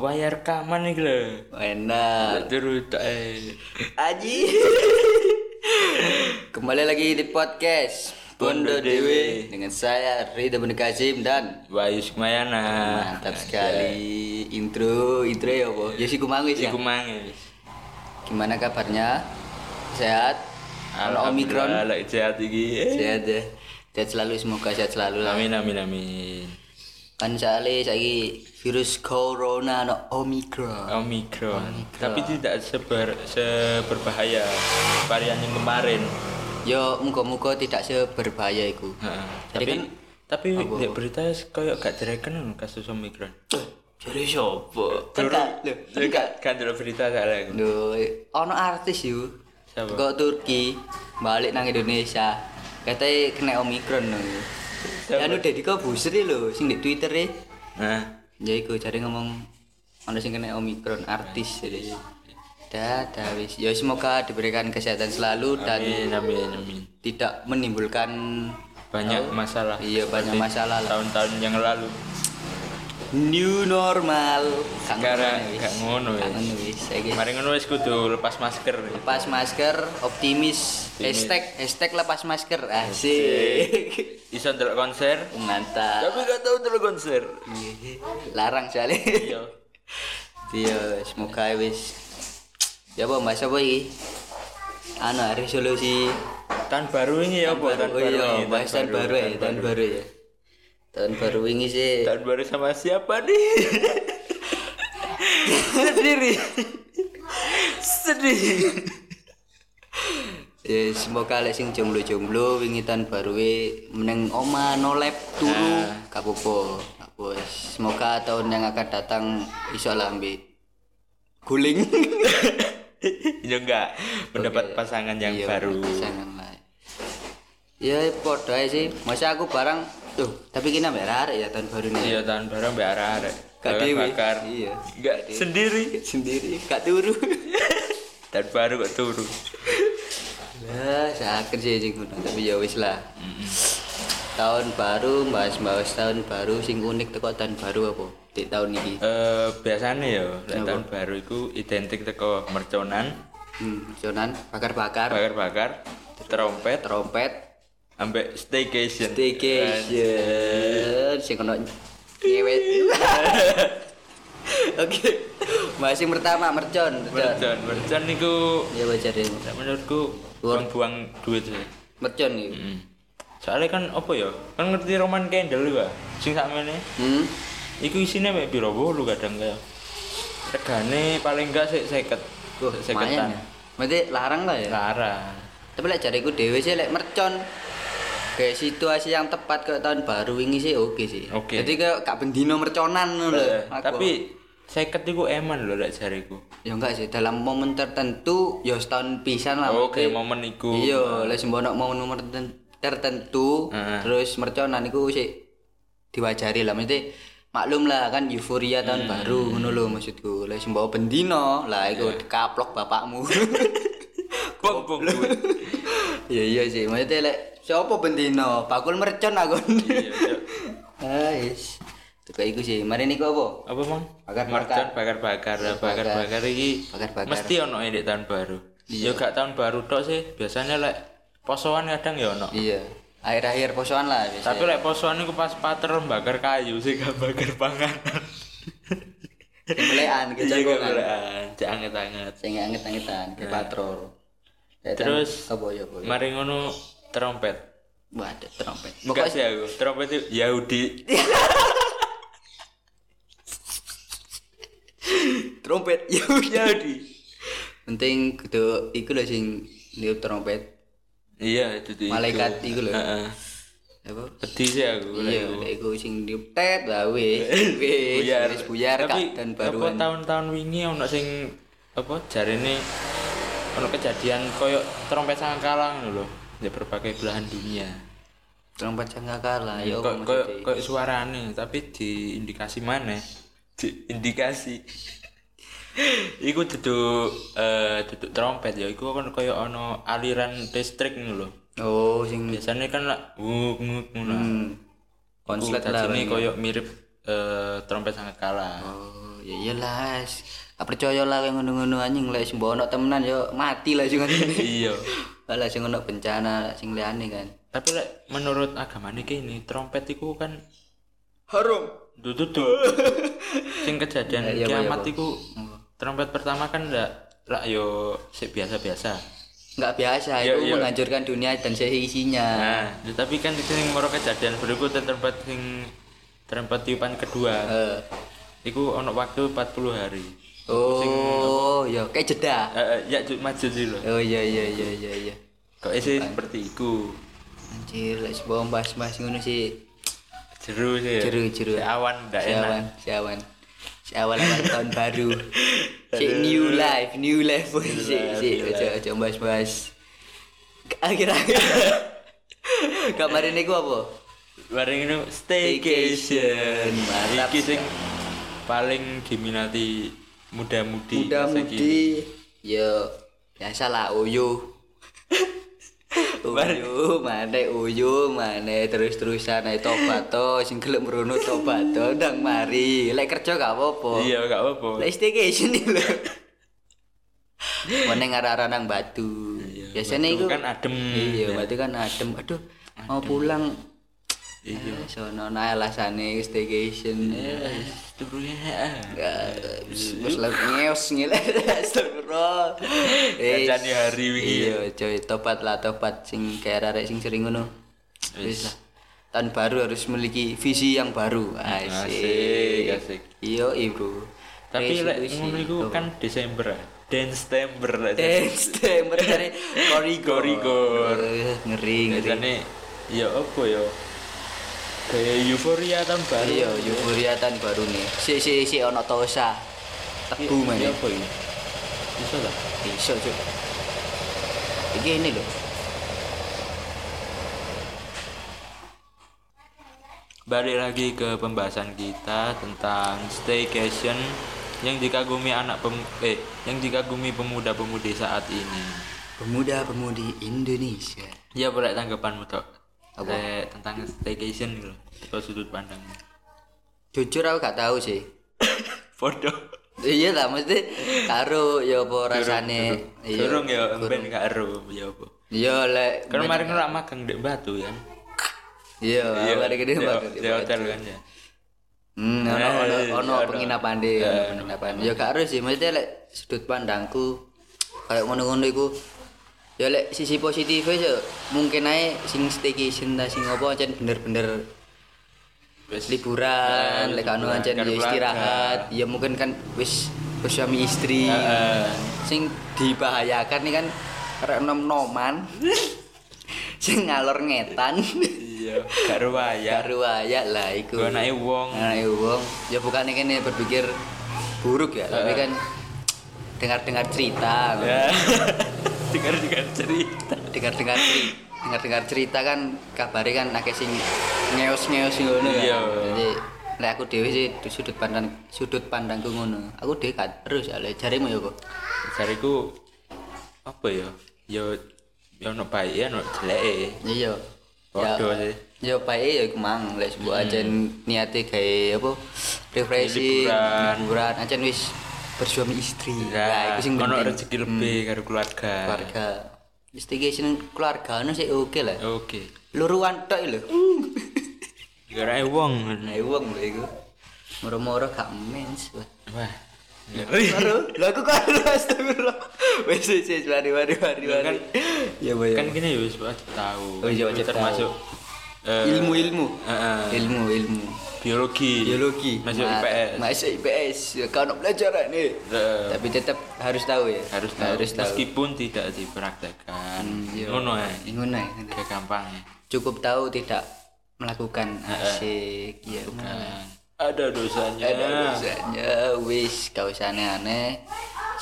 rekaman nih lho. Enak. Terus tak eh. Aji. Kembali lagi di podcast Bondo Bondo Dewi. Dewi dengan saya Rida Benekasim dan Wahyu Sumayana. mantap sekali intro intro ya po. Jesse Kumangis ya. Iku mangis. Gimana kabarnya? Sehat? Kalau Omikron Alhamdulillah, lah, lek sehat iki. Eh. sehat ya. Sehat selalu semoga sehat selalu lah. Amin amin amin. Kan soalnya saiki virus corona no Omikron. Omikron. Tapi tidak seber seberbahaya varian yang kemarin. Yo muka-muka tidak seberbahaya iku. Heeh. Ha. Tapi Jadi kan tapi di berita koyo gak direken lho kasus Omikron. Jadi Eh, siapa? Kan Turun. gak, lho, kan gak. Kan dulu berita salah aku. Lho, ono artis yuk. Siapa? Kok Turki balik nang Indonesia. Katanya kena Omikron lho. Siapa? Ya lu Deddy kok buser lho, sing di Twitter e. Nah, Ya iku cari ngomong ono sing kena Omikron artis jadi. Dadah wis. Ya semoga diberikan kesehatan selalu dan amin amin amin. tidak menimbulkan Banyak masalah. iya banyak masalah lah. Tahun-tahun yang lalu. New normal. Sekarang Kangen gak ngono, wis. Kangen wis. Saiki Kemarin kan wis kudu lepas masker. lepas masker optimis hashtag hashtag lepas masker asik Iso ndelok konser. mantap Tapi gak tau ndelok konser. Iya. larang sekali Iya. iya semoga wis ya apa bahasa apa iki anu resolusi Tahun baru ini ya, Bu. oh iya bahas tahun baru ya tahun baru ya tahun baru ini sih Tahun baru sama siapa nih? sendiri sedih ya semoga lek sing jomblo-jomblo wingitan baru e meneng oma nolep turu gak apa-apa Gak apa. semoga tahun yang akan datang iso lah ambek guling ya enggak mendapat pasangan yang Iya, baru. pasangan lah. ya podo ae sih masa aku barang tuh tapi kena ambek arek ya tahun baru ini Iya, tahun baru mbak arek-arek. Gak dewe. Bakar-bakar. Iya. Enggak sendiri. sendiri gak turu Tahun baru kok turu. Lah, sakit sih sing ngono, tapi ya wis lah. Tahun baru, bahas-bahas tahun baru sing unik teko tahun baru apa? Di tahun iki. Eh biasanya ya, lek tahun baru itu identik teko merconan, Hmm, jonan bakar-bakar, bakar-bakar, trompet, trompet, ambek staycation. staycation, sing ono nyewet. Oke. Bahas yang pertama mercon, mercon. Mercon, mercon niku Ya wajar ya. Nek menurutku buang-buang duit sih. Mercon iki. Mm. Soalnya kan apa ya? Kan ngerti Roman Candle juga. Sing sakmene Hmm. iku isine mek piro lu kadang kaya. Regane paling enggak sik 50. Wah, Sik lumayan ya. 50-an. Berarti larang lah ya. Larang. Tapi lek jariku dhewe sih lek mercon kayak situasi yang tepat kayak tahun baru ini sih oke sih. Oke. Jadi kayak kak bendino merconan ngono lho. Eh, Aku. Tapi 50 iku eman lho lek jariku. ya enggak sih dalam momen tertentu ya setahun pisan lah. Oke, Maksudnya, momen iku. Iya, lek sembono momen terten- tertentu Heeh. terus merconan iku sih diwajari lah mesti maklum lah kan euforia tahun Hmm. baru ngono lho maksudku. Lek sembono bendino lah iku dikaplok bapakmu. Bong-bong duit. Iya iya sih, maksudnya lek siapa bendino, bakul mercon aku. Iya, iya. Ais. Tuh kayak iku sih. Mari niku apa? Apa, Mon? Bakar-bakar. Mercon bakar-bakar, lah, bakar-bakar iki Bakar-bakar. mesti ono e di tahun baru. Yo gak tahun baru tok sih, biasanya lek posoan kadang ya ono. Iya. Akhir-akhir posoan lah biasa. Tapi lek posoan iku pas pater bakar kayu sih gak bakar panganan. Kebelean kejagongan. golekan, cek anget-anget. Sing anget-angetan ke patrol. Lek Terus- tan- apa ya apa? ya? Mari ngono trompet. Waduh, trompet. Enggak sih aku, trompet itu Yahudi. Trompet. Ya Yahudi. Penting kudu iku lho sing niup trompet. Iya, itu itu. Malaikat iku lho. Heeh. Apa? Pedih sih aku. lek Iya, iku. lek iku sing niup tet lah wis. Wis buyar wis buyar tapi kak dan apa baruan. tahun-tahun wingi ono sing apa jarene ono kejadian koyo trompet sangkalang lho ya berbagai belahan dunia Trompet jangan kalah ya apa koyo koyo maksudnya? koyo suarane tapi diindikasi mana diindikasi iku duduk eh duduk trompet ya iku kan koyo ono aliran listrik ngono lho Oh, sing biasanya kan lah wuk wuk ngono hmm, konslet lah. ini koyo mirip eh, trompet sangkalang Oh, ya iyalah wis. Gak percaya lah yang ngono-ngono anjing lek sing mbok ono temenan yo mati lah sing ngene. iya Lah sing ono bencana sing liyane kan. tapi lek menurut agama nih ini trompet itu kan Harum. dudu tuh sing kejadian Ya, iya, Pak, kiamat iya, Pak. itu trompet pertama kan ndak lah yo sik biasa-biasa Enggak biasa Iya, itu iya. menghancurkan dunia dan seisinya. nah tetapi kan di sini moro kejadian berikutnya trompet sing trompet tiupan kedua Eh. iku ono waktu 40 hari Oh, ya kayak jeda. Eh, eh, ya Jud maju dulu Oh iya iya iya iya iya. kok isi seperti iku Anjir, lek sebuah bahas-bahas ngono sih. jeru sih ya. Jeru, jeru. Si awan ndak enak Siawan, siawan. Siawan awan tahun baru. Si new life, new life boy. Si si ojo ojo bahas-bahas. Akhir-akhir. Kemarin niku apa? bareng ini staycation Mantap. iki sing paling diminati muda-mudi Muda masa kini. mudi. Ya biasalah Oyo. Uyu, mana uyu, mana terus-terusan ae tobat to, sing gelem mrono tobat to, ndang mari. Lek kerja gak apa-apa. iya gak apa-apa Lek staycation iki lho. Meneng arah-arah nang Batu. Batu Biasanya iku kan adem. Iya, Batu kan adem. Aduh, mau pulang. Eh, Iya, sono nah alasane staycation. Seterusnya Ya, wis wis lek ngeos ngene. Astagfirullah. Eh, Kacani hari wingi. Iya, coy, topat lah topat sing kaya arek sing sering ngono. Wis lah. Tahun baru harus memiliki visi yang baru. Asik, Asik. asik. Iya, iya, Bro. Tapi lek Resolusi. ngono iku kan Desember. Dance December lek. Eh, Dance December dari Korigor. Korigor. Eh, Ngeri, ngeri. Biasane ya apa ya? Kayak euforia tahun baru. Iya, euforia tahun baru nih. Si si si ono tosa. Tebu Iya, mana? iya, apa ini? Bisa lah. Bisa cuy. Iki ini loh. Balik lagi ke pembahasan kita tentang staycation yang dikagumi anak pem eh yang dikagumi pemuda-pemudi saat ini. Pemuda-pemudi Indonesia. Ya boleh tanggapanmu Tok. Apa? Lek tentang staycation gitu. Apa sudut pandangmu? Jujur aku gak tahu sih. Bodoh. iya lah mesti karo ya apa rasane. Durung ya ben gak ero ya apa. Iya lek Kan kemarin ora magang ndek Batu ya. iya mari di gede banget. Di hotel kan ya. Hmm, ono ono Eh, ono iya, Eh. penginapan deh, penginapan. Ya gak harus sih, maksudnya lek sudut pandangku kayak ngono-ngono iku ya lek sisi positifnya ya mungkin ae sing staycation ta sing apa ancen bener-bener Wis liburan, Eh, lek anu liburan, ancen karo ya keluarga. istirahat, ya mungkin kan wis bersuami istri. Heeh. Sing dibahayakan nih kan rek nom-noman. sing ngalor ngetan. Iya, gak ruwaya. Baru aja lah iku. Gua anake wong Nah, iya, wong ya bukan ini berpikir buruk ya, tapi kan dengar-dengar cerita, ya. Dengar-dengar cerita. dengar-dengar cerita, dengar-dengar cerita kan kabari kan akeh sing ngeos-ngeos ngono kan. Iya. Jadi nek aku dhewe sih di sudut pandang sudut pandangku ngono. Aku dhewe gak terus ya, lek jarimu ya kok. Cariku apa ya? Ya ya ono baik ya ono jeleke. Iya. Ya, Bodoh sih. Hmm. ya baik ya iku mang lek mbok ajen niate gawe apa refreshing, Liburan. liburan, ajen wis bersuami istri. Ya, iku sing ono penting. Hmm, rezeki lebih karo keluarga. keluarga investigation keluarga anu sih oke lah Oke. luruan tok lho Gara-gara wong. nah wong lho iku moro-moro gak mens wah. Wah. Ngeri. Moro, lho aku kok lho astagfirullah wis wis wis mari mari mari Lho, mari kan- ya boy kan gini ya wis wajib tahu Oh Itu iya, wajib termasuk eh, ilmu ilmu Heeh. ilmu ilmu biologi biologi masuk Ma- IPS Ah, masuk IPS ya kau nak pelajaran nih Heeh. tapi tetap harus tahu ya Eh, harus tahu harus tahu meskipun tidak dipraktekkan iya. ngono ya Ngono ya, ngono. gak gampang ya cukup tahu tidak melakukan Eh. asik ya nah. Nah, ada dosanya ada dosanya wis gak usah aneh-aneh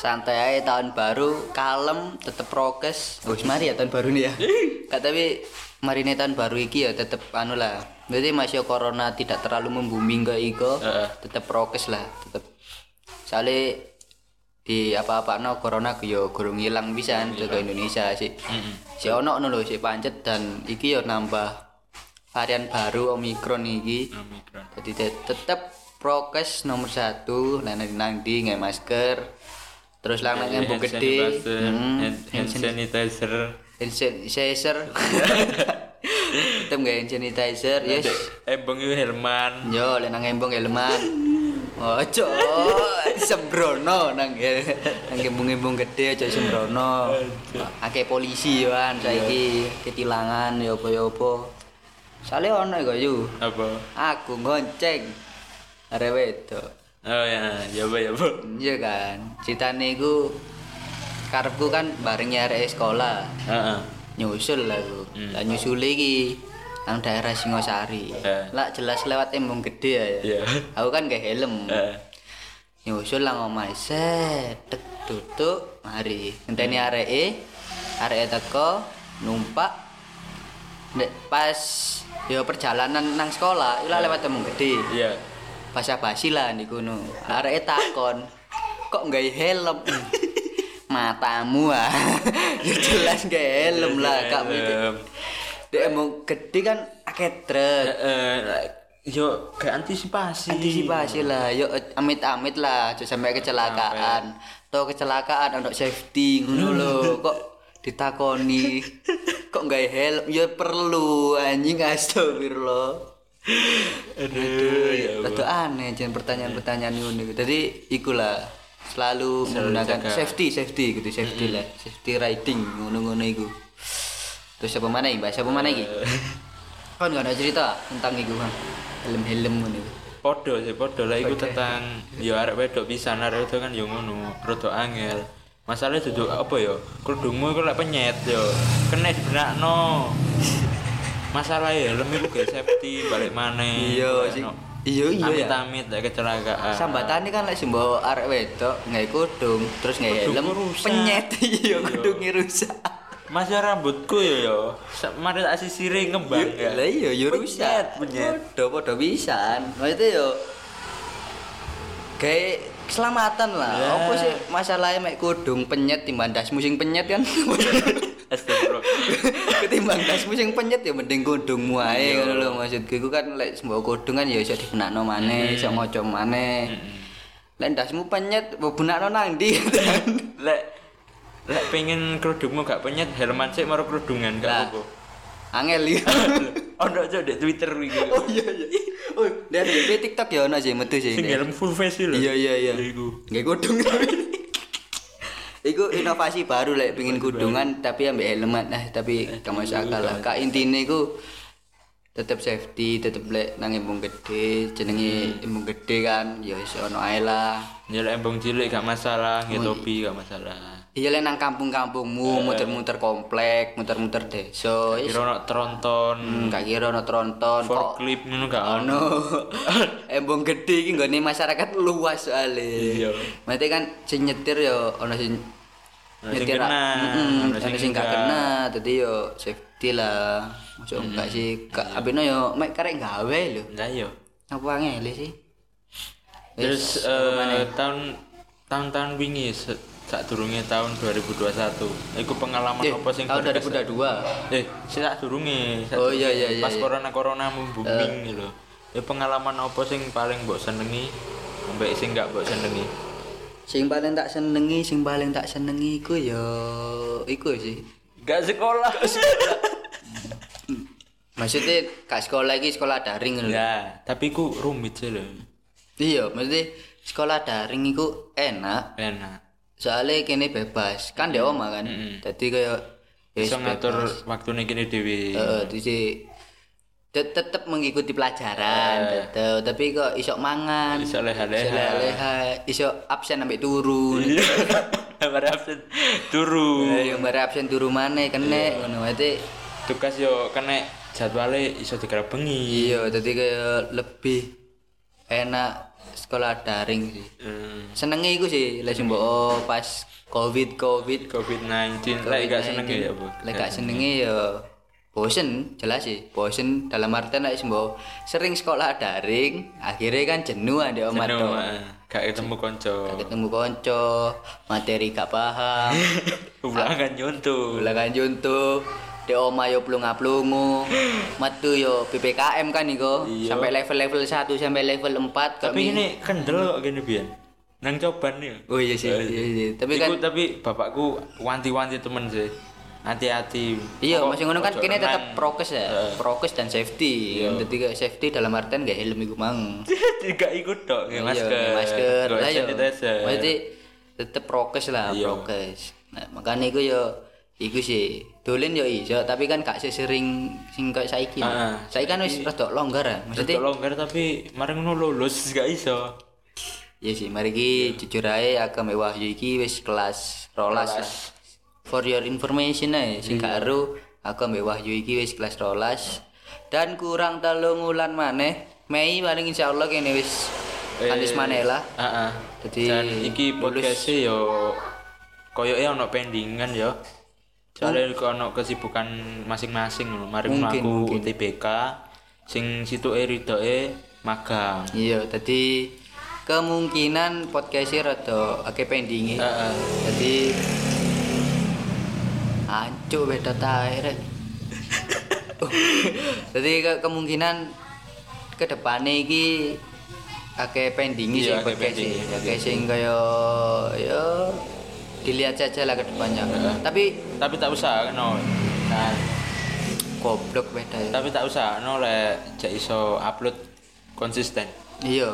santai aja tahun baru kalem tetep prokes wis mari ya tahun baru nih ya Kak, tapi mari nih tahun baru iki ya tetep anu lah berarti masih ya corona tidak terlalu membuming ke iko Heeh. tetep prokes lah tetep soalnya di apa-apa no corona yo gurung hilang bisa ke Indonesia sih si ono no lho, si pancet dan iki yo nambah varian baru omikron iki Omikron. jadi te- tetep prokes nomor satu nanti nanti nggak masker terus lah yang bu Hand gede sanitizer, hand, hand sanitizer. Hmm, hand sanitizer tetep nggak hand sanitizer yes Eh, Bang Yu Herman. yo lek nang embong eleman ojo sembrono nang nang embung-embung gede ojo sembrono akeh polisi yo an saiki ketilangan yo apa-apa sale ono kok yo Apa? aku ngonceng arek wedok Oh ya, ya apa ya, Bu. iya kan ceritane iku karepku kan barengnya arek sekolah Heeh. nyusul lah aku Hmm. lah nyusul iki nang daerah Singosari Eh. lah jelas lewat embung gede ya Iya. aku kan gak helm Eh, nyusul lah ngomai setek tutup mari ngenteni Hmm. areke areke teko numpak Nek pas yo perjalanan nang sekolah ila lewat embung gede Iya. basa basi lah di kuno arek takon kok nggak helm matamu ah ya jelas nggak helm lah kak Helm. dia emang gede kan akeh truk Eh, eh, yo gak antisipasi. antisipasi lah yuk amit amit lah jangan sampai kecelakaan atau kecelakaan untuk safety ngono lho kok ditakoni kok nggak helm ya perlu anjing astagfirullah Aduh, ya Allah. Rada aneh jen pertanyaan-pertanyaan ngono iku. Jadi ikulah selalu menggunakan jaga. safety, safety gitu, safety lah. Safety riding ngono-ngono iku. Terus apa mana iki? Bahas apa mana iki? Kan gak ada cerita tentang iku, Bang. Helm-helm ngono iku. Podo sih, podo lah iku tentang yo arek wedok pisan arek wedok kan yo ngono, rada angel. Masalahnya duduk apa yo? Kerudungmu iku lek penyet yo. Kena dibenakno. Masalah ya, lem iku gak safety balik maneh. Iya sih. Iya iya ya. Amit-amit ya kecelakaan. Sambatane kan lek sembo arek wedok nggak kudung, terus nggak Kudungku helm, rusak. penyet iya Iya. kudungnya rusak. Mas ya rambutku yo yo. Sa- Mari tak sisiri ngembang ya. Lah iya yo rusak. penyet. Padha-padha pisan. Maksudnya yo kayak keselamatan lah. Ya. Apa sih masalahnya mek kudung penyet timbang dasmu sing penyet kan. Astagfirullah. Ketimbang dasmu sing penyet ya mending kudungmu ae ngono lho maksudku. Iku kan lek sembawa kudung kan ya iso dibenakno maneh, iso ngocok maneh. Lek dasmu penyet mbok benakno nang ndi? Lek lek pengen kerudungmu gak penyet, helman sik karo kerudungan Lah. gak apa-apa. Angel iki. Ono cok di Twitter iki. Oh iya iya. Oh, dan di TikTok ya ono sih metu sih. sing helm full face lho. Iya iya iya. Lho Iku. Nggak kudung. Iku inovasi baru Eh, lek pengin kudungan tapi ambek helmet nah tapi gak masuk akal lah. Kak intine iku tetep safety, tetep lek nang embung gede, jenenge embung gede kan ya wis ono ae lah. Ya lek embong cilik gak masalah, Oh, nggih topi gak masalah. Iya lek nang kampung-kampungmu muter-muter komplek, muter-muter desa. wis. Kira ono tronton, Gak kira ono tronton kok forklift ngono gak Oh, ono. ono embung gede iki nggone masyarakat luas soalnya Iya. Maksudnya kan sing nyetir yo ono sing Ono sing kena, Mm-mm, ono sing ono sing gak enggak. kena dadi yo safety lah masuk enggak sih gak Iya. abeno yo mek karek gawe lho Lah iya. apa angel sih Terus eh tahun tahun-tahun wingi se- sak durunge tahun 2021. Iku pengalaman eh, apa sing tahun berkesan? 2022 Eh, sih tak durunge. sak Oh, durunge. iya, iya, iya, Pas iya. Eh. corona-corona booming lho. Ya pengalaman apa sing paling mbok senengi? Mbak sing gak mbok senengi? sing paling tak senengi sing paling tak senengi iku yo iku sih Gak sekolah. maksudnya gak sekolah iki sekolah daring lho Ya, tapi ku rumit sih lho. iya maksudnya sekolah daring iku enak Enak. soalnya kini bebas kan dia oma kan jadi kayak ya Bisa ngatur waktune kene dhewe. uh, tetap mengikuti pelajaran tetep. tapi kok isok mangan Bisa Eh. leha-leha. leha isok absen sampai turun Bar absen turu. Eh, yang bare absen turun mana kene ngono berarti Tugas yo kena jadwale iso digrebengi. iya jadi kayak lebih enak sekolah daring sih Hmm. senengnya iku sih lah mbok oh, pas covid covid COVID-19 lek gak seneng ya, Bu. Lek gak senenge ya bosen, jelas sih. Bosen dalam artian lek sembo sering sekolah daring, akhirnya kan jenuh ada omah Jenuh, tok. ah. Gak ketemu konco. Gak ketemu konco, materi gak paham, Ulangan nyuntuh. ulangan juntuh, di oma yo plunga-plungu, metu yo PPKM kan iku, Iya. sampai level-level 1 sampai level 4 Tapi ini kendel kok gini biyen. Nang coban nih. Oh iya sih, iya, iya. Tapi kan Iku, tapi bapakku wanti-wanti temen sih. Hati-hati. Iya, Pokok- masih ngono kan pojok kini renang. tetap prokes ya, prokes dan safety. Jadi kayak safety dalam artian gak helm iku mang. Tiga ikut dok, nggak Iya, masker. nggak masker Nggak lah yo. sanitizer. Berarti tetep prokes lah, Iya. prokes. Nah, makanya iku yo iku sih dolen yo iso, tapi kan gak sesering sing kayak saiki. Ah, ah. saiki kan wis rada longgar ya. Maksudnya Tetep longgar tapi mari ngono lulus gak iso. Iya sih, mari ki jujur ae aku mbek Wahyu iki wis kelas 12 lah. For your information ae, sing gak ero aku mbek Wahyu iki wis kelas 12 dan kurang telung wulan maneh Mei paling insyaallah kene wis Eh, kalis maneh lah. Heeh. Jadi, Dan iki lulus. podcast yo koyoke ono pendingan yo. Soalnya iku ono kesibukan masing-masing lho. Mari ngono Oh. Mungkin, aku mungkin. UTBK sing situke ridoke magang. Iya, tadi kemungkinan podcast rada akeh pendinge. Heeh. Jadi ancuk beda tae rek. Jadi ke- kemungkinan ke depane iki akeh pending sih Iya, akeh podcast sih. pendingi. Akeh sing kaya ya dilihat saja lah ke depannya. Tapi Tapi tak usah no. Nah, goblok beda ya. tapi tak usah no lek jak iso upload konsisten. Iya.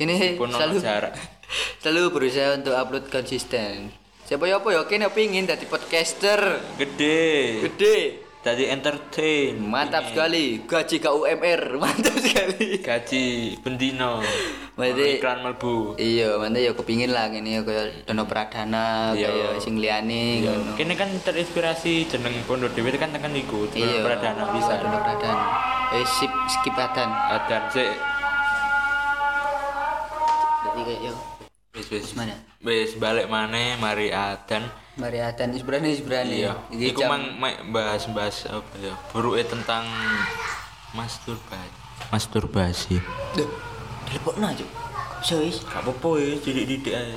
Kini Pun ono selalu jarak. selalu berusaha untuk upload konsisten. Siapa ya apa ya kene pengin dadi podcaster Gede. gede. Jadi entertain. Mantap sekali, gaji KUMR, mantap sekali. Gaji bendino. Berarti- iklan melbu. Iya, mantap ya kepingin lah ngene ya kaya Dono Pradana, Iya. kaya sing liyane ngono. Kini kan terinspirasi jeneng Pondok Dewi kan tekan iku jeneng Iya. pradana Bisa bisa. Dono Pradana. Eh sip skip adan. Adan sik Dadi kaya yo wis wis mana? wis balik maneh mari adan. Mari adan is berani is berani. Iya. Iki Iku jam- mang mek bahas-bahas apa ya? Buruke tentang masturbasi. Masturbasi. Duh, telepon aja. Bisa wis. Gak apa-apa ya, didik-didik aja.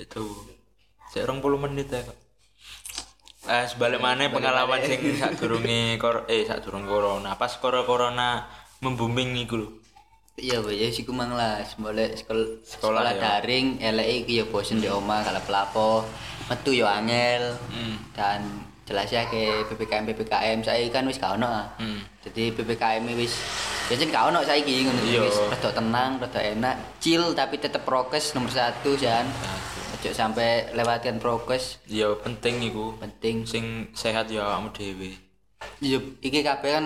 Itu. Sik 20 menit ya kok. Eh, sebalik mana pengalaman sing sadurunge kor eh sadurung corona, pas kor corona membooming iku lho. Iya, Pak, ya sik mang lah, sekolah sekolah, Sekolah, sekolah ya. daring, elek iki ya bosen di omah kalau pelapo, metu ya angel. Hmm. Dan jelasnya ke PPKM PPKM saya kan wis gak ono. ah. Hmm. Jadi PPKM ini wis jajan gak ono saiki ngono Iya. wis rada tenang, rada enak, chill tapi tetep prokes nomor satu Jan. Ojo sampai lewatkan prokes, Ya penting iku. penting. sing sehat ya awakmu dhewe. Iya, iki kabeh kan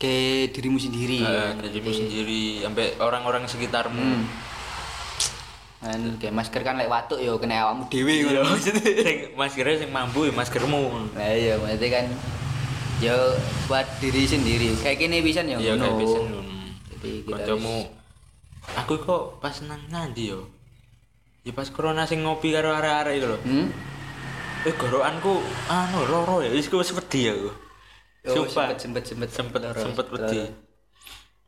ke dirimu sendiri. Eh, dirimu sendiri sampai orang-orang Hmm. sekitarmu. Kan kayak masker kan lek watuk yo kena awakmu dhewe Iya, ngono. Oh, sing maskernya sing mambu ya maskermu. Nah iya berarti kan yo buat diri sendiri. Kayak gini bisa ya. Iya, kayak biasa nun. Jadi kita Kancamu aku kok pas nang nanti yo. Ya pas corona sing ngopi karo arek-arek iku lho. Hmm? Eh gorokanku anu loro ya, wis ku wis wedi aku. Oh, Sumpah. sempet sempet sempet sempet Loro, sempet loro. wedi.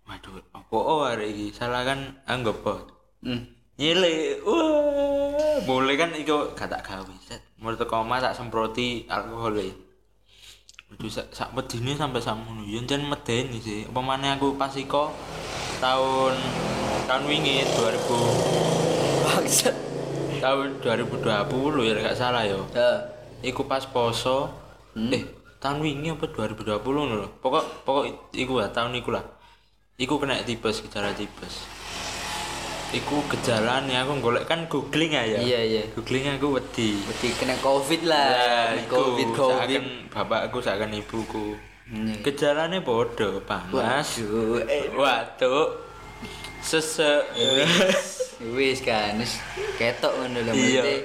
Waduh, apa oh arek iki? Salah kan anggap bot. Hmm. Nyilek. Wah, boleh kan iku gak tak gawe. Set, Mulut teko omah tak semproti alkohol e. Waduh, sak sak medine sampe sakmono. Yen jan medeni sih. Apa maneh aku pas iko tahun tahun wingi 2000 Bangsat. tahun 2020 ya gak salah yo. Eh, Iku pas poso. Hmm? Eh, tahun wingi apa 2020 ngono lho. Pokok pokok i- iku lah tahun iku lah. Iku kena tipes, gejala tipes. Iku gejalane aku golek kan googling aja. Iya iya. Googling aku wedi. Berarti kena covid lah. Lah, Kena iku covid covid. saken bapakku saken ibuku. Hmm. Gejalane bodoh, panas, Waduh, eh, watuk, sesek. Eh. Wis kan, wis ketok ngono lho Iya. berarti.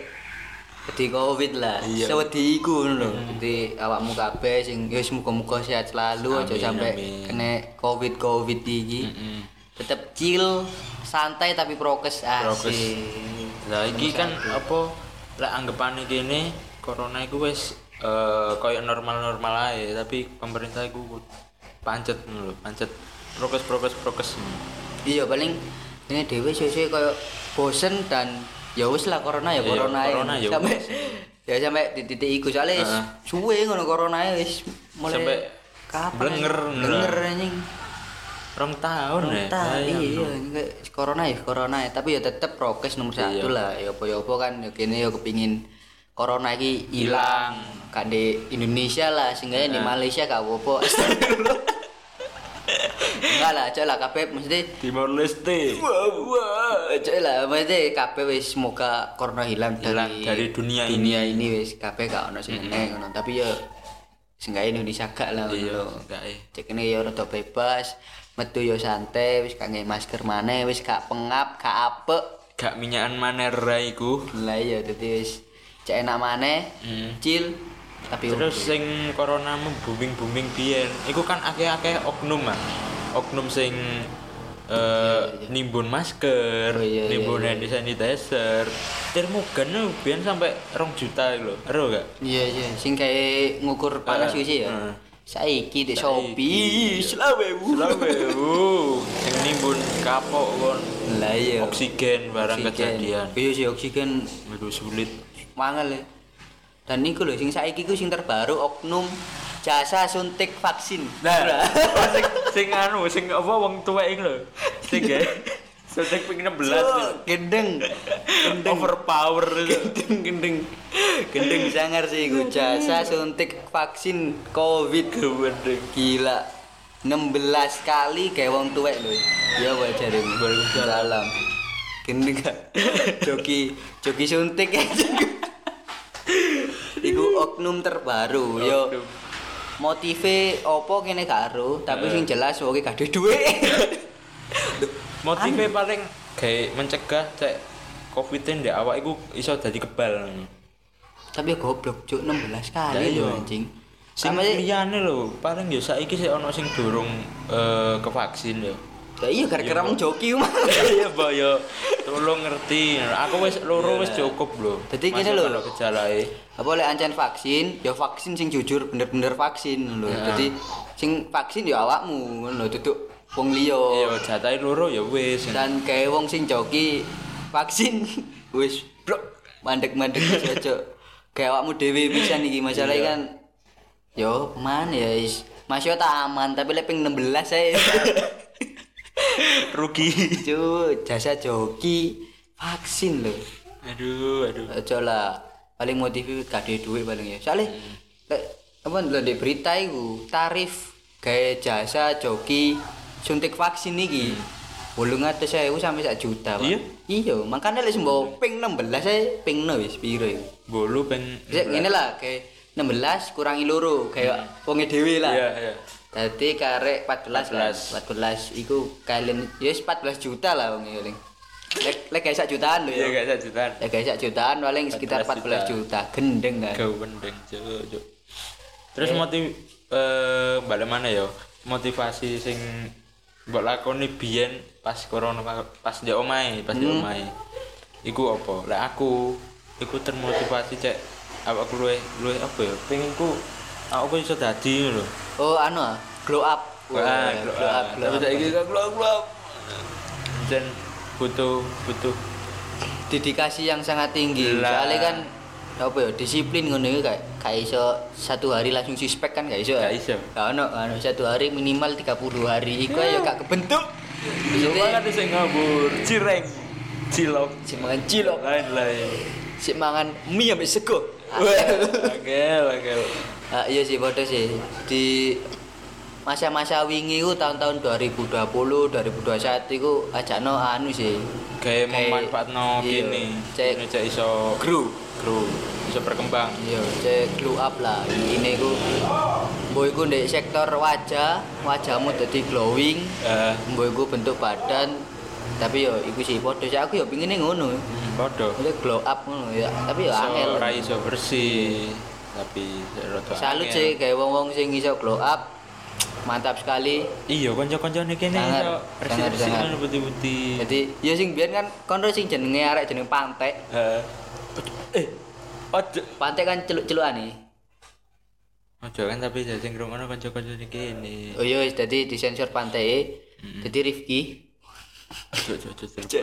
Jadi covid lah. Iya. Sewedi iku ngono lho. Jadi awakmu kabeh sing ya wis muga-muga sehat selalu aja Amin, sampai amin. kena covid covid iki. Mm-mm. Tetep chill, santai tapi prokes Prokes. asik. Lah iki kan apa lek anggapane kene corona iku wis eh koyo normal-normal ae, tapi pemerintah iku pancet ngono lho, pancet prokes prokes prokes. Iya paling ini dhewe sesuk koyo bosen dan ya wis lah corona ya Iya, corona ae. corona ya Sampai ya sampai di titik iku soalnya wis suwe ngono corona ae wis mulai Sampai kapan blenger, anjing? beneran. blenger anjing rong tahun ya entah iya sayang. iya anjing, kayak corona ya corona ya tapi ya tetep prokes Iya. nomor satu lah ya apa ya apa kan ya kene ya kepingin corona iki hilang kan di Indonesia lah sehingga Iya. di Malaysia gak apa-apa enggak lah cok lah kabeh mesti Timor Leste wah wah cok lah mesti kabeh wis semoga corona hilang Hilang dari dari dunia dunia ini wis kabeh gak ono sing eneng ngono tapi ya sehingga Indonesia gak lah ngono iya lho. enggak eh cek ini ya rada bebas metu ya santai wis gak nge masker maneh wis gak pengap gak apek gak minyakan manera iku lah ya dadi wis cek enak maneh Hmm. chill tapi terus sing corona booming booming biyen iku kan akeh-akeh oknum ah oknum sing eh, nimbun masker, Oh, iya, iya, nimbun hand sanitizer, termogan lu biyen sampai rong juta lho, ero gak? iya iya sing kayak ngukur panas Eh, wis ya eh. saiki di Saiki, Shopee selawe wu. Selawe, wuh, sing nimbun kapok kon, lah iya oksigen barang Oksigen. kejadian, iya sih oksigen itu sulit. mangel ya dan niku lho sing saiki ku sing terbaru oknum jasa suntik vaksin Nah, oh, sing sing anu, sing apa wong tuwek iku lho. Sing ya. Suntik ping 16 lho. Cuk, gendeng gendeng Overpower itu. gendeng gendeng gendeng sangar sih gue jasa suntik vaksin covid Gendeng. gila 16 kali kayak wong tuwek lho ya wajar ini salam gendeng gak joki joki suntik Iku oknum terbaru yo Oknum. motive opo kene karo Eh. tapi sing jelas wonge gak ada duit Motive paling gawe mencegah cek covid ndek awak iku iso dadi kebal. tapi ya goblok cuk 16 kali Ya, lho iya. anjing Sing Sama- liyane lho, paling ya saiki sik ono sing durung eh, kevaksin ya. Ya iya gara-gara mung joki mah. Iya, Mbak ya. Tolong ngerti. Aku wis loro wis cukup lho. Dadi Masuk gini lho. kalau gejalae. Apa lek ancen vaksin, ya vaksin sing jujur bener-bener vaksin lho. Ya. Jadi sing vaksin ya awakmu ngono lho duduk wong liya. Iya, jatahe loro ya wis. Dan kayak wong sing joki vaksin wis blok mandek-mandek wis aja. Kayak awakmu dhewe pisan iki masalahe kan yo man ya is. Mas yo tak aman tapi lek ping 16 saya Rugi. Cuk, jasa joki vaksin lho. Aduh, aduh. aja lah paling motivi gak ada duit paling ya soalnya Hmm. lek apa lho di berita iku tarif gaya jasa joki suntik vaksin iki bolong atas saya sampai sak juta pak Hmm. Iya? iya makanya lek sembo ping 16 saya ping no wis piro iku Bolu peng Bisa ngene lah kayak 16 kurangi loro kayak wonge dhewe lah Hmm. Iya, iya. Dadi karek 14 lah. 14 iku kalian ya wis 14 juta lah wong paling. Lek lek gak sak jutaan lho ya. Iya gak saya jutaan. Ya guys, sak jutaan paling sekitar 14 14 juta. Gendeng kan. Gawe pendeng cuk. Terus motiv eh balik mana ya? Motivasi sing mbok lakoni biyen pas corona pas di omahe, pas di omahe. Iku apa? Lek aku iku termotivasi cek awakku luwe luwe apa ya? Pengen ku aku iso dadi ngono lho. Oh, anu ah, glow up. Wah, glow up. glow Tapi up. saiki kok glow up, glow up. Dan butuh butuh Dedikasi yang sangat tinggi. Lah. Soalnya kan apa ya disiplin ngono iki kayak kayak iso satu hari langsung suspek kan gak iso ya? Gak iso. Gak ono anu satu hari minimal 30 hari iku ya gak kebentuk. Yo Maksudnya, banget sih ngabur, cireng, cilok, si mangan cilok, lain lain. si mangan mie ambek sego. Angel, angel. Ah, iya sih bodoh sih di masa-masa wingi ku tahun-tahun 2020 2021 ku ajakno anu sih Kayak Kayak- memanfaatno iya, kini, cek- kini cek iso Grow. grow, iso berkembang. iya cek glow up lah ini ku boy ku di sektor wajah wajahmu jadi glowing Eh, boy ku bentuk badan tapi yo iku sih bodoh sih aku yo pinginnya ngono bodoh. Maksudnya glow up ngono ya tapi yo So, angel ra iso bersih, tapi rada salut angel. sih kayak wong-wong sing iso glow up mantap sekali Iya, kanca-kanca nih kini Sangar, iso bersih-bersih sangar, sangar. kan putih-putih. jadi ya sing biyen kan kono sing jenenge arek jeneng pantek Eh, eh, ojo. pantai kan celuk-celukan e. nih Ojo kan tapi jadi ngrungokno kanca-kanca nih kini. oh iya wis jadi disensor e. pantai jadi Rifki Ojo, ojo, ojo, ojo.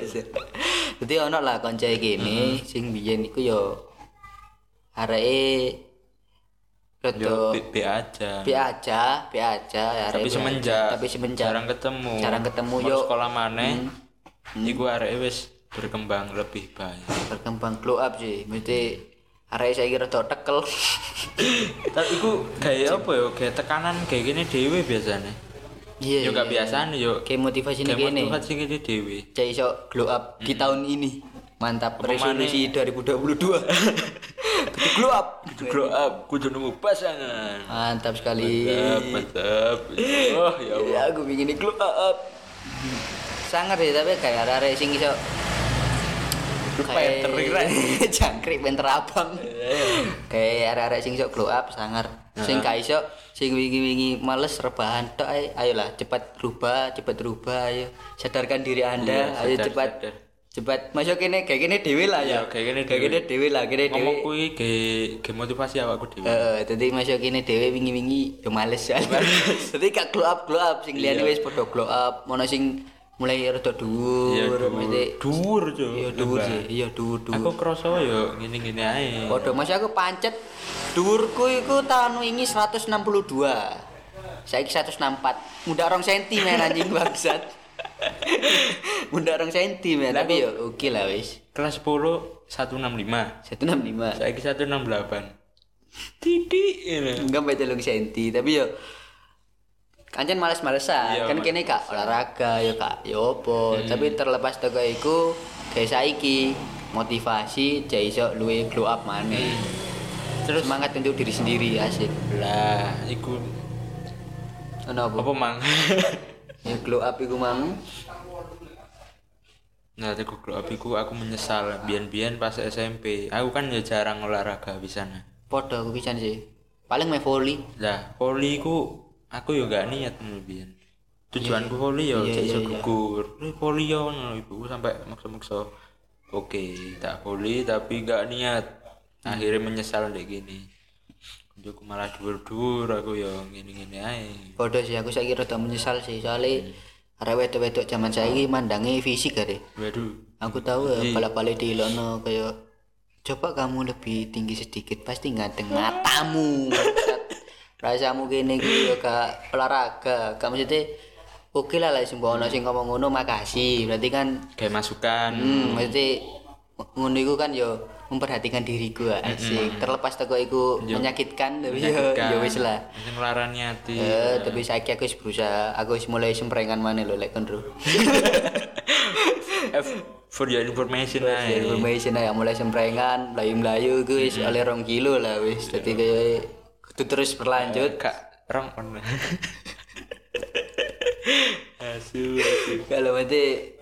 jadi ono lah konco iki ini sing biyen iku yo areke Yo rada B, B aja. bi aja, bi aja arek tapi bi aja. semenjak tapi semenjak jarang ketemu. jarang ketemu, Baru yo. sekolah maneh. Iku arek wis berkembang lebih banyak. berkembang glow up sih. Mesti arek saiki rada tekel. Tapi iku gaya apa yo? Gaya tekanan kayak gini dewe biasanya. Iya. Yo gak biasane yo. Kayak motivasi ini Kayak gini. motivasi sing gini dewe. Cek iso glow up di tahun ini. Mantap Apa resolusi 2022. Kudu glow up. Kudu grow up, kudu nemu pasangan. Mantap sekali. Mantap, mantap. Oh, ya Allah. Ya aku pingin di glow up. Sangar sih tapi kayak arek sing iso Penter, kira. jangkrik penter abang. Kayak arek-arek sing iso glow up sangar. Sing gak iso sing wingi-wingi males rebahan tok ayo ayolah cepat rubah, cepat rubah ayo. Sadarkan diri Anda, Iya, ayo sadar, cepat. sadar. Cepat masuk kene kayak kene dhewe lah ya. Iya, kayak kene Kayak dhewe. kene dhewe lah, kene dhewe. Ngomong kuwi ge ge motivasi awakku dhewe. Heeh, dadi masuk kene dhewe wingi-wingi yo males ya. Dadi gak glow up, glow up sing liyane wis padha glow up, ono sing mulai rada Iya, dhuwur, dhuwur. mesti dhuwur cuk. iya dhuwur sih, iya dhuwur-dhuwur. Aku kroso yo ngene-ngene ae. Padha mas aku pancet dhuwurku iku tahun wingi 162. Saiki 164. Mundak rong senti men anjing bangsat. Mundak rong senti men tapi ya oke lah wis. Kelas 10 165. 165. Saiki 168. Titik ini. Enggak sampai telung senti tapi ya kancen males-malesan Iya, Hmm. kan kene kak olahraga ya kak ya opo tapi terlepas teko iku kayak saiki motivasi jai iso luwe glow up maneh Terus semangat untuk diri sendiri asik lah iku ono apa apa mang? ya glow up iku mang Nah, aku kalau abiku aku menyesal biyen-biyen pas SMP. Aku kan ya jarang olahraga di sana. podo aku pisan sih paling main volley Lah, voli ku aku yo gak niat ngono biyen. Tujuanku voli yo Iya, cek iya, iso iya. gugur. Eh, Voli yo ngono ibuku sampai maksa-maksa. Oke, tak voli tapi gak niat. Akhirnya menyesal ndek gini. Aku malah dhuwur-dhuwur aku yo ngene-ngene ae. podo sih aku saiki rada menyesal sih soalnya arek wedok-wedok zaman saiki mandangi fisik gak deh Waduh. Aku eh, tahu ya, pala-pala di Ilono kayak coba kamu lebih tinggi sedikit pasti ganteng matamu. Bangsat. Rasamu gini gitu ya kak olahraga. Kamu maksudnya oke lah lah sembuh ono sing ngomong ngono makasih. Berarti kan Kayak masukan. hmm, maksudnya ngono iku kan yo memperhatikan diriku ya, asik. Terlepas teko iku menyakitkan tapi yo menyakitkan. Iya. yo Iya, wis lah. Sing larani ati. Eh, tapi saiki aku wis berusaha, aku wis mulai semprengan maneh lho lek kondro. F for your information Ya, ae. information aja mulai semprengan, melayu-melayu guys, oleh rong kilo lah wis. Jadi kayak kudu terus berlanjut. Kak, rong on. Asu, asu. Kalau nanti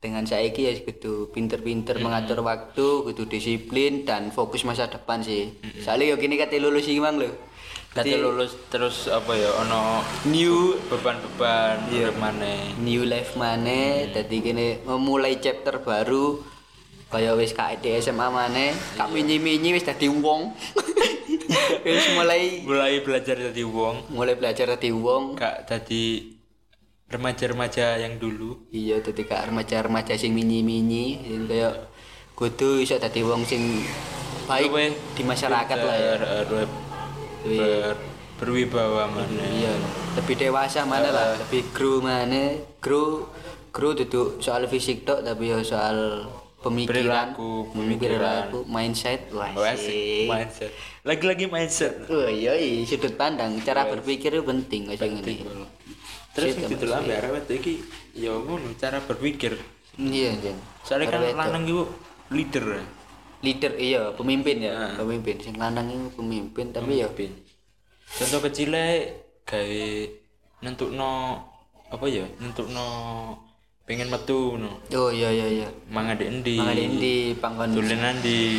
dengan saiki ya kudu pinter-pinter mengatur waktu, kudu disiplin dan fokus masa depan sih. Soalnya yo kini kate lulus iki mang lho. Nanti Jadi, lulus terus apa ya ono new beban-beban yeah. maneh. new life maneh, dadi kene memulai chapter baru kaya wis KD SMA maneh, kak minyi-minyi wis dadi wong. wis mulai Mulai belajar dari wong, mulai belajar dadi wong, gak tadi remaja-remaja yang dulu. iya dadi kak remaja-remaja sing mini-mini sing kaya kudu iso dadi wong sing baik Luwih di masyarakat lah ya pinter, luwih eh, ber- berwibawa maneh. iya lebih dewasa mana lah Iya. lebih grow mana grow grow duduk soal fisik tok tapi ya soal pemikiran Perilaku, Hmm, pemikiran. perilaku, mindset wah Oh, asik. sih Mindset. Lagi-lagi mindset. oh iya iya, sudut pandang cara berpikir itu penting kok sing ini Terus yang ditelok ambek arek wedok iki ya ngono cara berpikir. iya iya Soalnya kan Arwet. lanang iku leader. ya. leader iya pemimpin ya Nah. pemimpin sing lanang itu pemimpin tapi ya Pin. Iya, Contoh kecilnya gawe nentukno apa ya? Nentukno pengen metu no. Oh iya iya iya. Mangan di endi. Mangalin di pangkon Dolanan di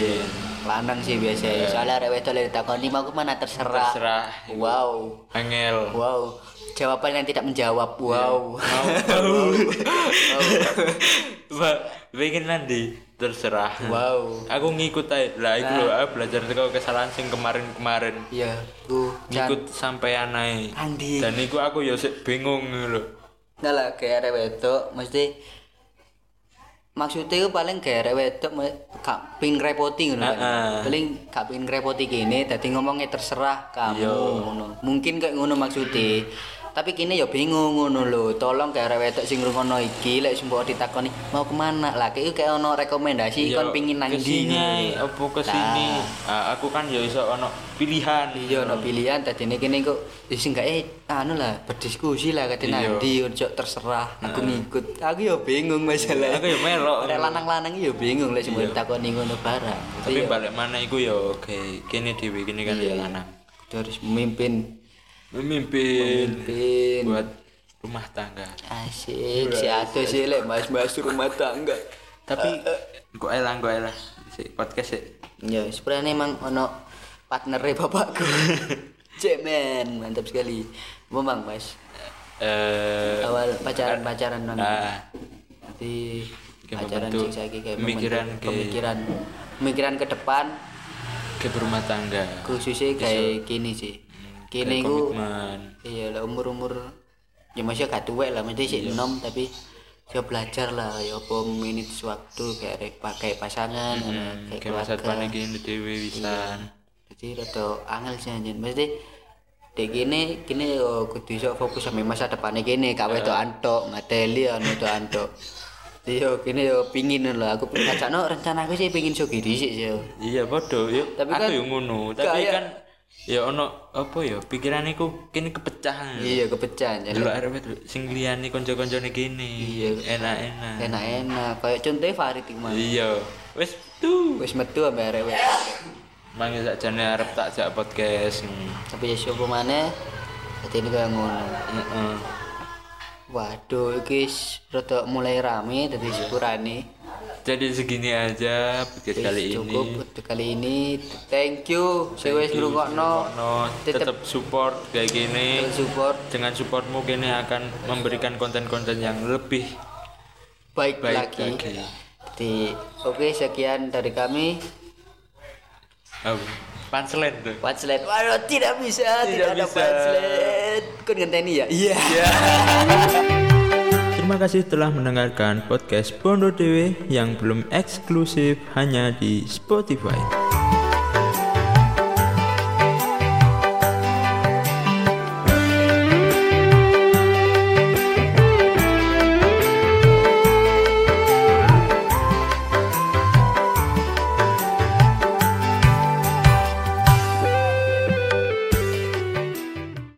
lanang sih biasa. ya. Soalnya arek wedok lek takoni mau kemana terserah. Iya. Terserah. Wow. angel. Wow. Jawaban yang tidak menjawab. Wow. Iya, Mau- Ba- pengen nanti terserah. wow. Aku ngikut aja lah iku lho aku belajar teko kesalahan sing kemarin-kemarin. Iya, ku Ngikut sampai anai. Andi. Dan iku aku ya sik bingung lho. Enggak lah kayak arek wedok mesti maksudnya itu paling gak arek wedok me- gak ping repoti ngono kan. Heeh. Paling gak ping repoti kene dadi ngomongnya terserah kamu Iya. ngono. Mungkin kayak ngono maksudnya. Tapi kini ya bingung ngono lho. Tolong gak arek wedok sing ngrungokno iki lek sumpah ditakoni mau kemana lah kayak kayak ono Yo, rekomendasi kon pingin nang Ya, ndi kesini ngono lho. apa kesini Lah. Ah, aku kan ya iso ono pilihan Iya ono pilihan dadine kene kok wis enggak eh, anu lah berdiskusi lah kate Iya. nanti ojo terserah aku ngikut. Aku ya bingung masalah. Aku ya melok. Rek lanang-lanang ya bingung lek sing takoni ngono barang. tapi balik mana iku yo oke kene dhewe kene Iya. kan ya lanang Kudu harus memimpin memimpin memimpin buat rumah tangga asik si ado sih lek mas-mas rumah tangga. Eh, tapi kok elang kok elang si podcast sih Ya, Eh, sebenarnya emang ono partnere bapakku. Cemen, mantap sekali. Apa Bang, Mas? eh Awal pacaran-pacaran Bang. ah, Nanti Kayak ajaran membentuk sing saiki kayak pemikiran membentuk ke- pemikiran pemikiran ke depan ke berumah tangga khususnya kayak gini sih Kayak kini ku komitmen iya lah umur umur ya masih gak tua lah mesti sih enom tapi ya belajar lah ya apa menit waktu kayak re- pakai pasangan Hmm, kayak kayak masa keluarga Iya. depan iki dhewe wisan jadi rada angel sih anjen mesti dek gini gini yo kudu iso fokus sama masa depannya gini kawe tuh antok mateli anu tuh antok jadi yo gini yo pingin lah aku ngajak no rencana aku sih pingin sugih dhisik sih yo iya bodoh yo Tapi aku kan- yo ngono tapi kayak- kan ya ono apa ya pikiran iku kene kepecahan iya kepecahan dulu arep wedok sing liyane kanca-kancane kene Iya. enak-enak enak-enak kayak contohnya Farid iki mah iya wis tuh wis metu ambek arek wes. mangi sakjane arep tak jak podcast Hmm. tapi ya sapa maneh dadi ini kaya ngono Heeh. waduh iki wis rada mulai rame dadi sepurane jadi segini aja podcast Wis kali cukup ini untuk kali ini thank you sing wis ngrungokno no tetep tetap support kayak gini support dengan supportmu kini akan memberikan konten-konten yang lebih baik, baik lagi, lagi. Jadi, oke sekian dari kami Oh, panselen tuh. Punchline Waduh tidak bisa Tidak Tidak, ada bisa. punchline Kan ngenteni ya Iya Terima kasih telah mendengarkan podcast Bondo Dewe yang belum eksklusif hanya di Spotify.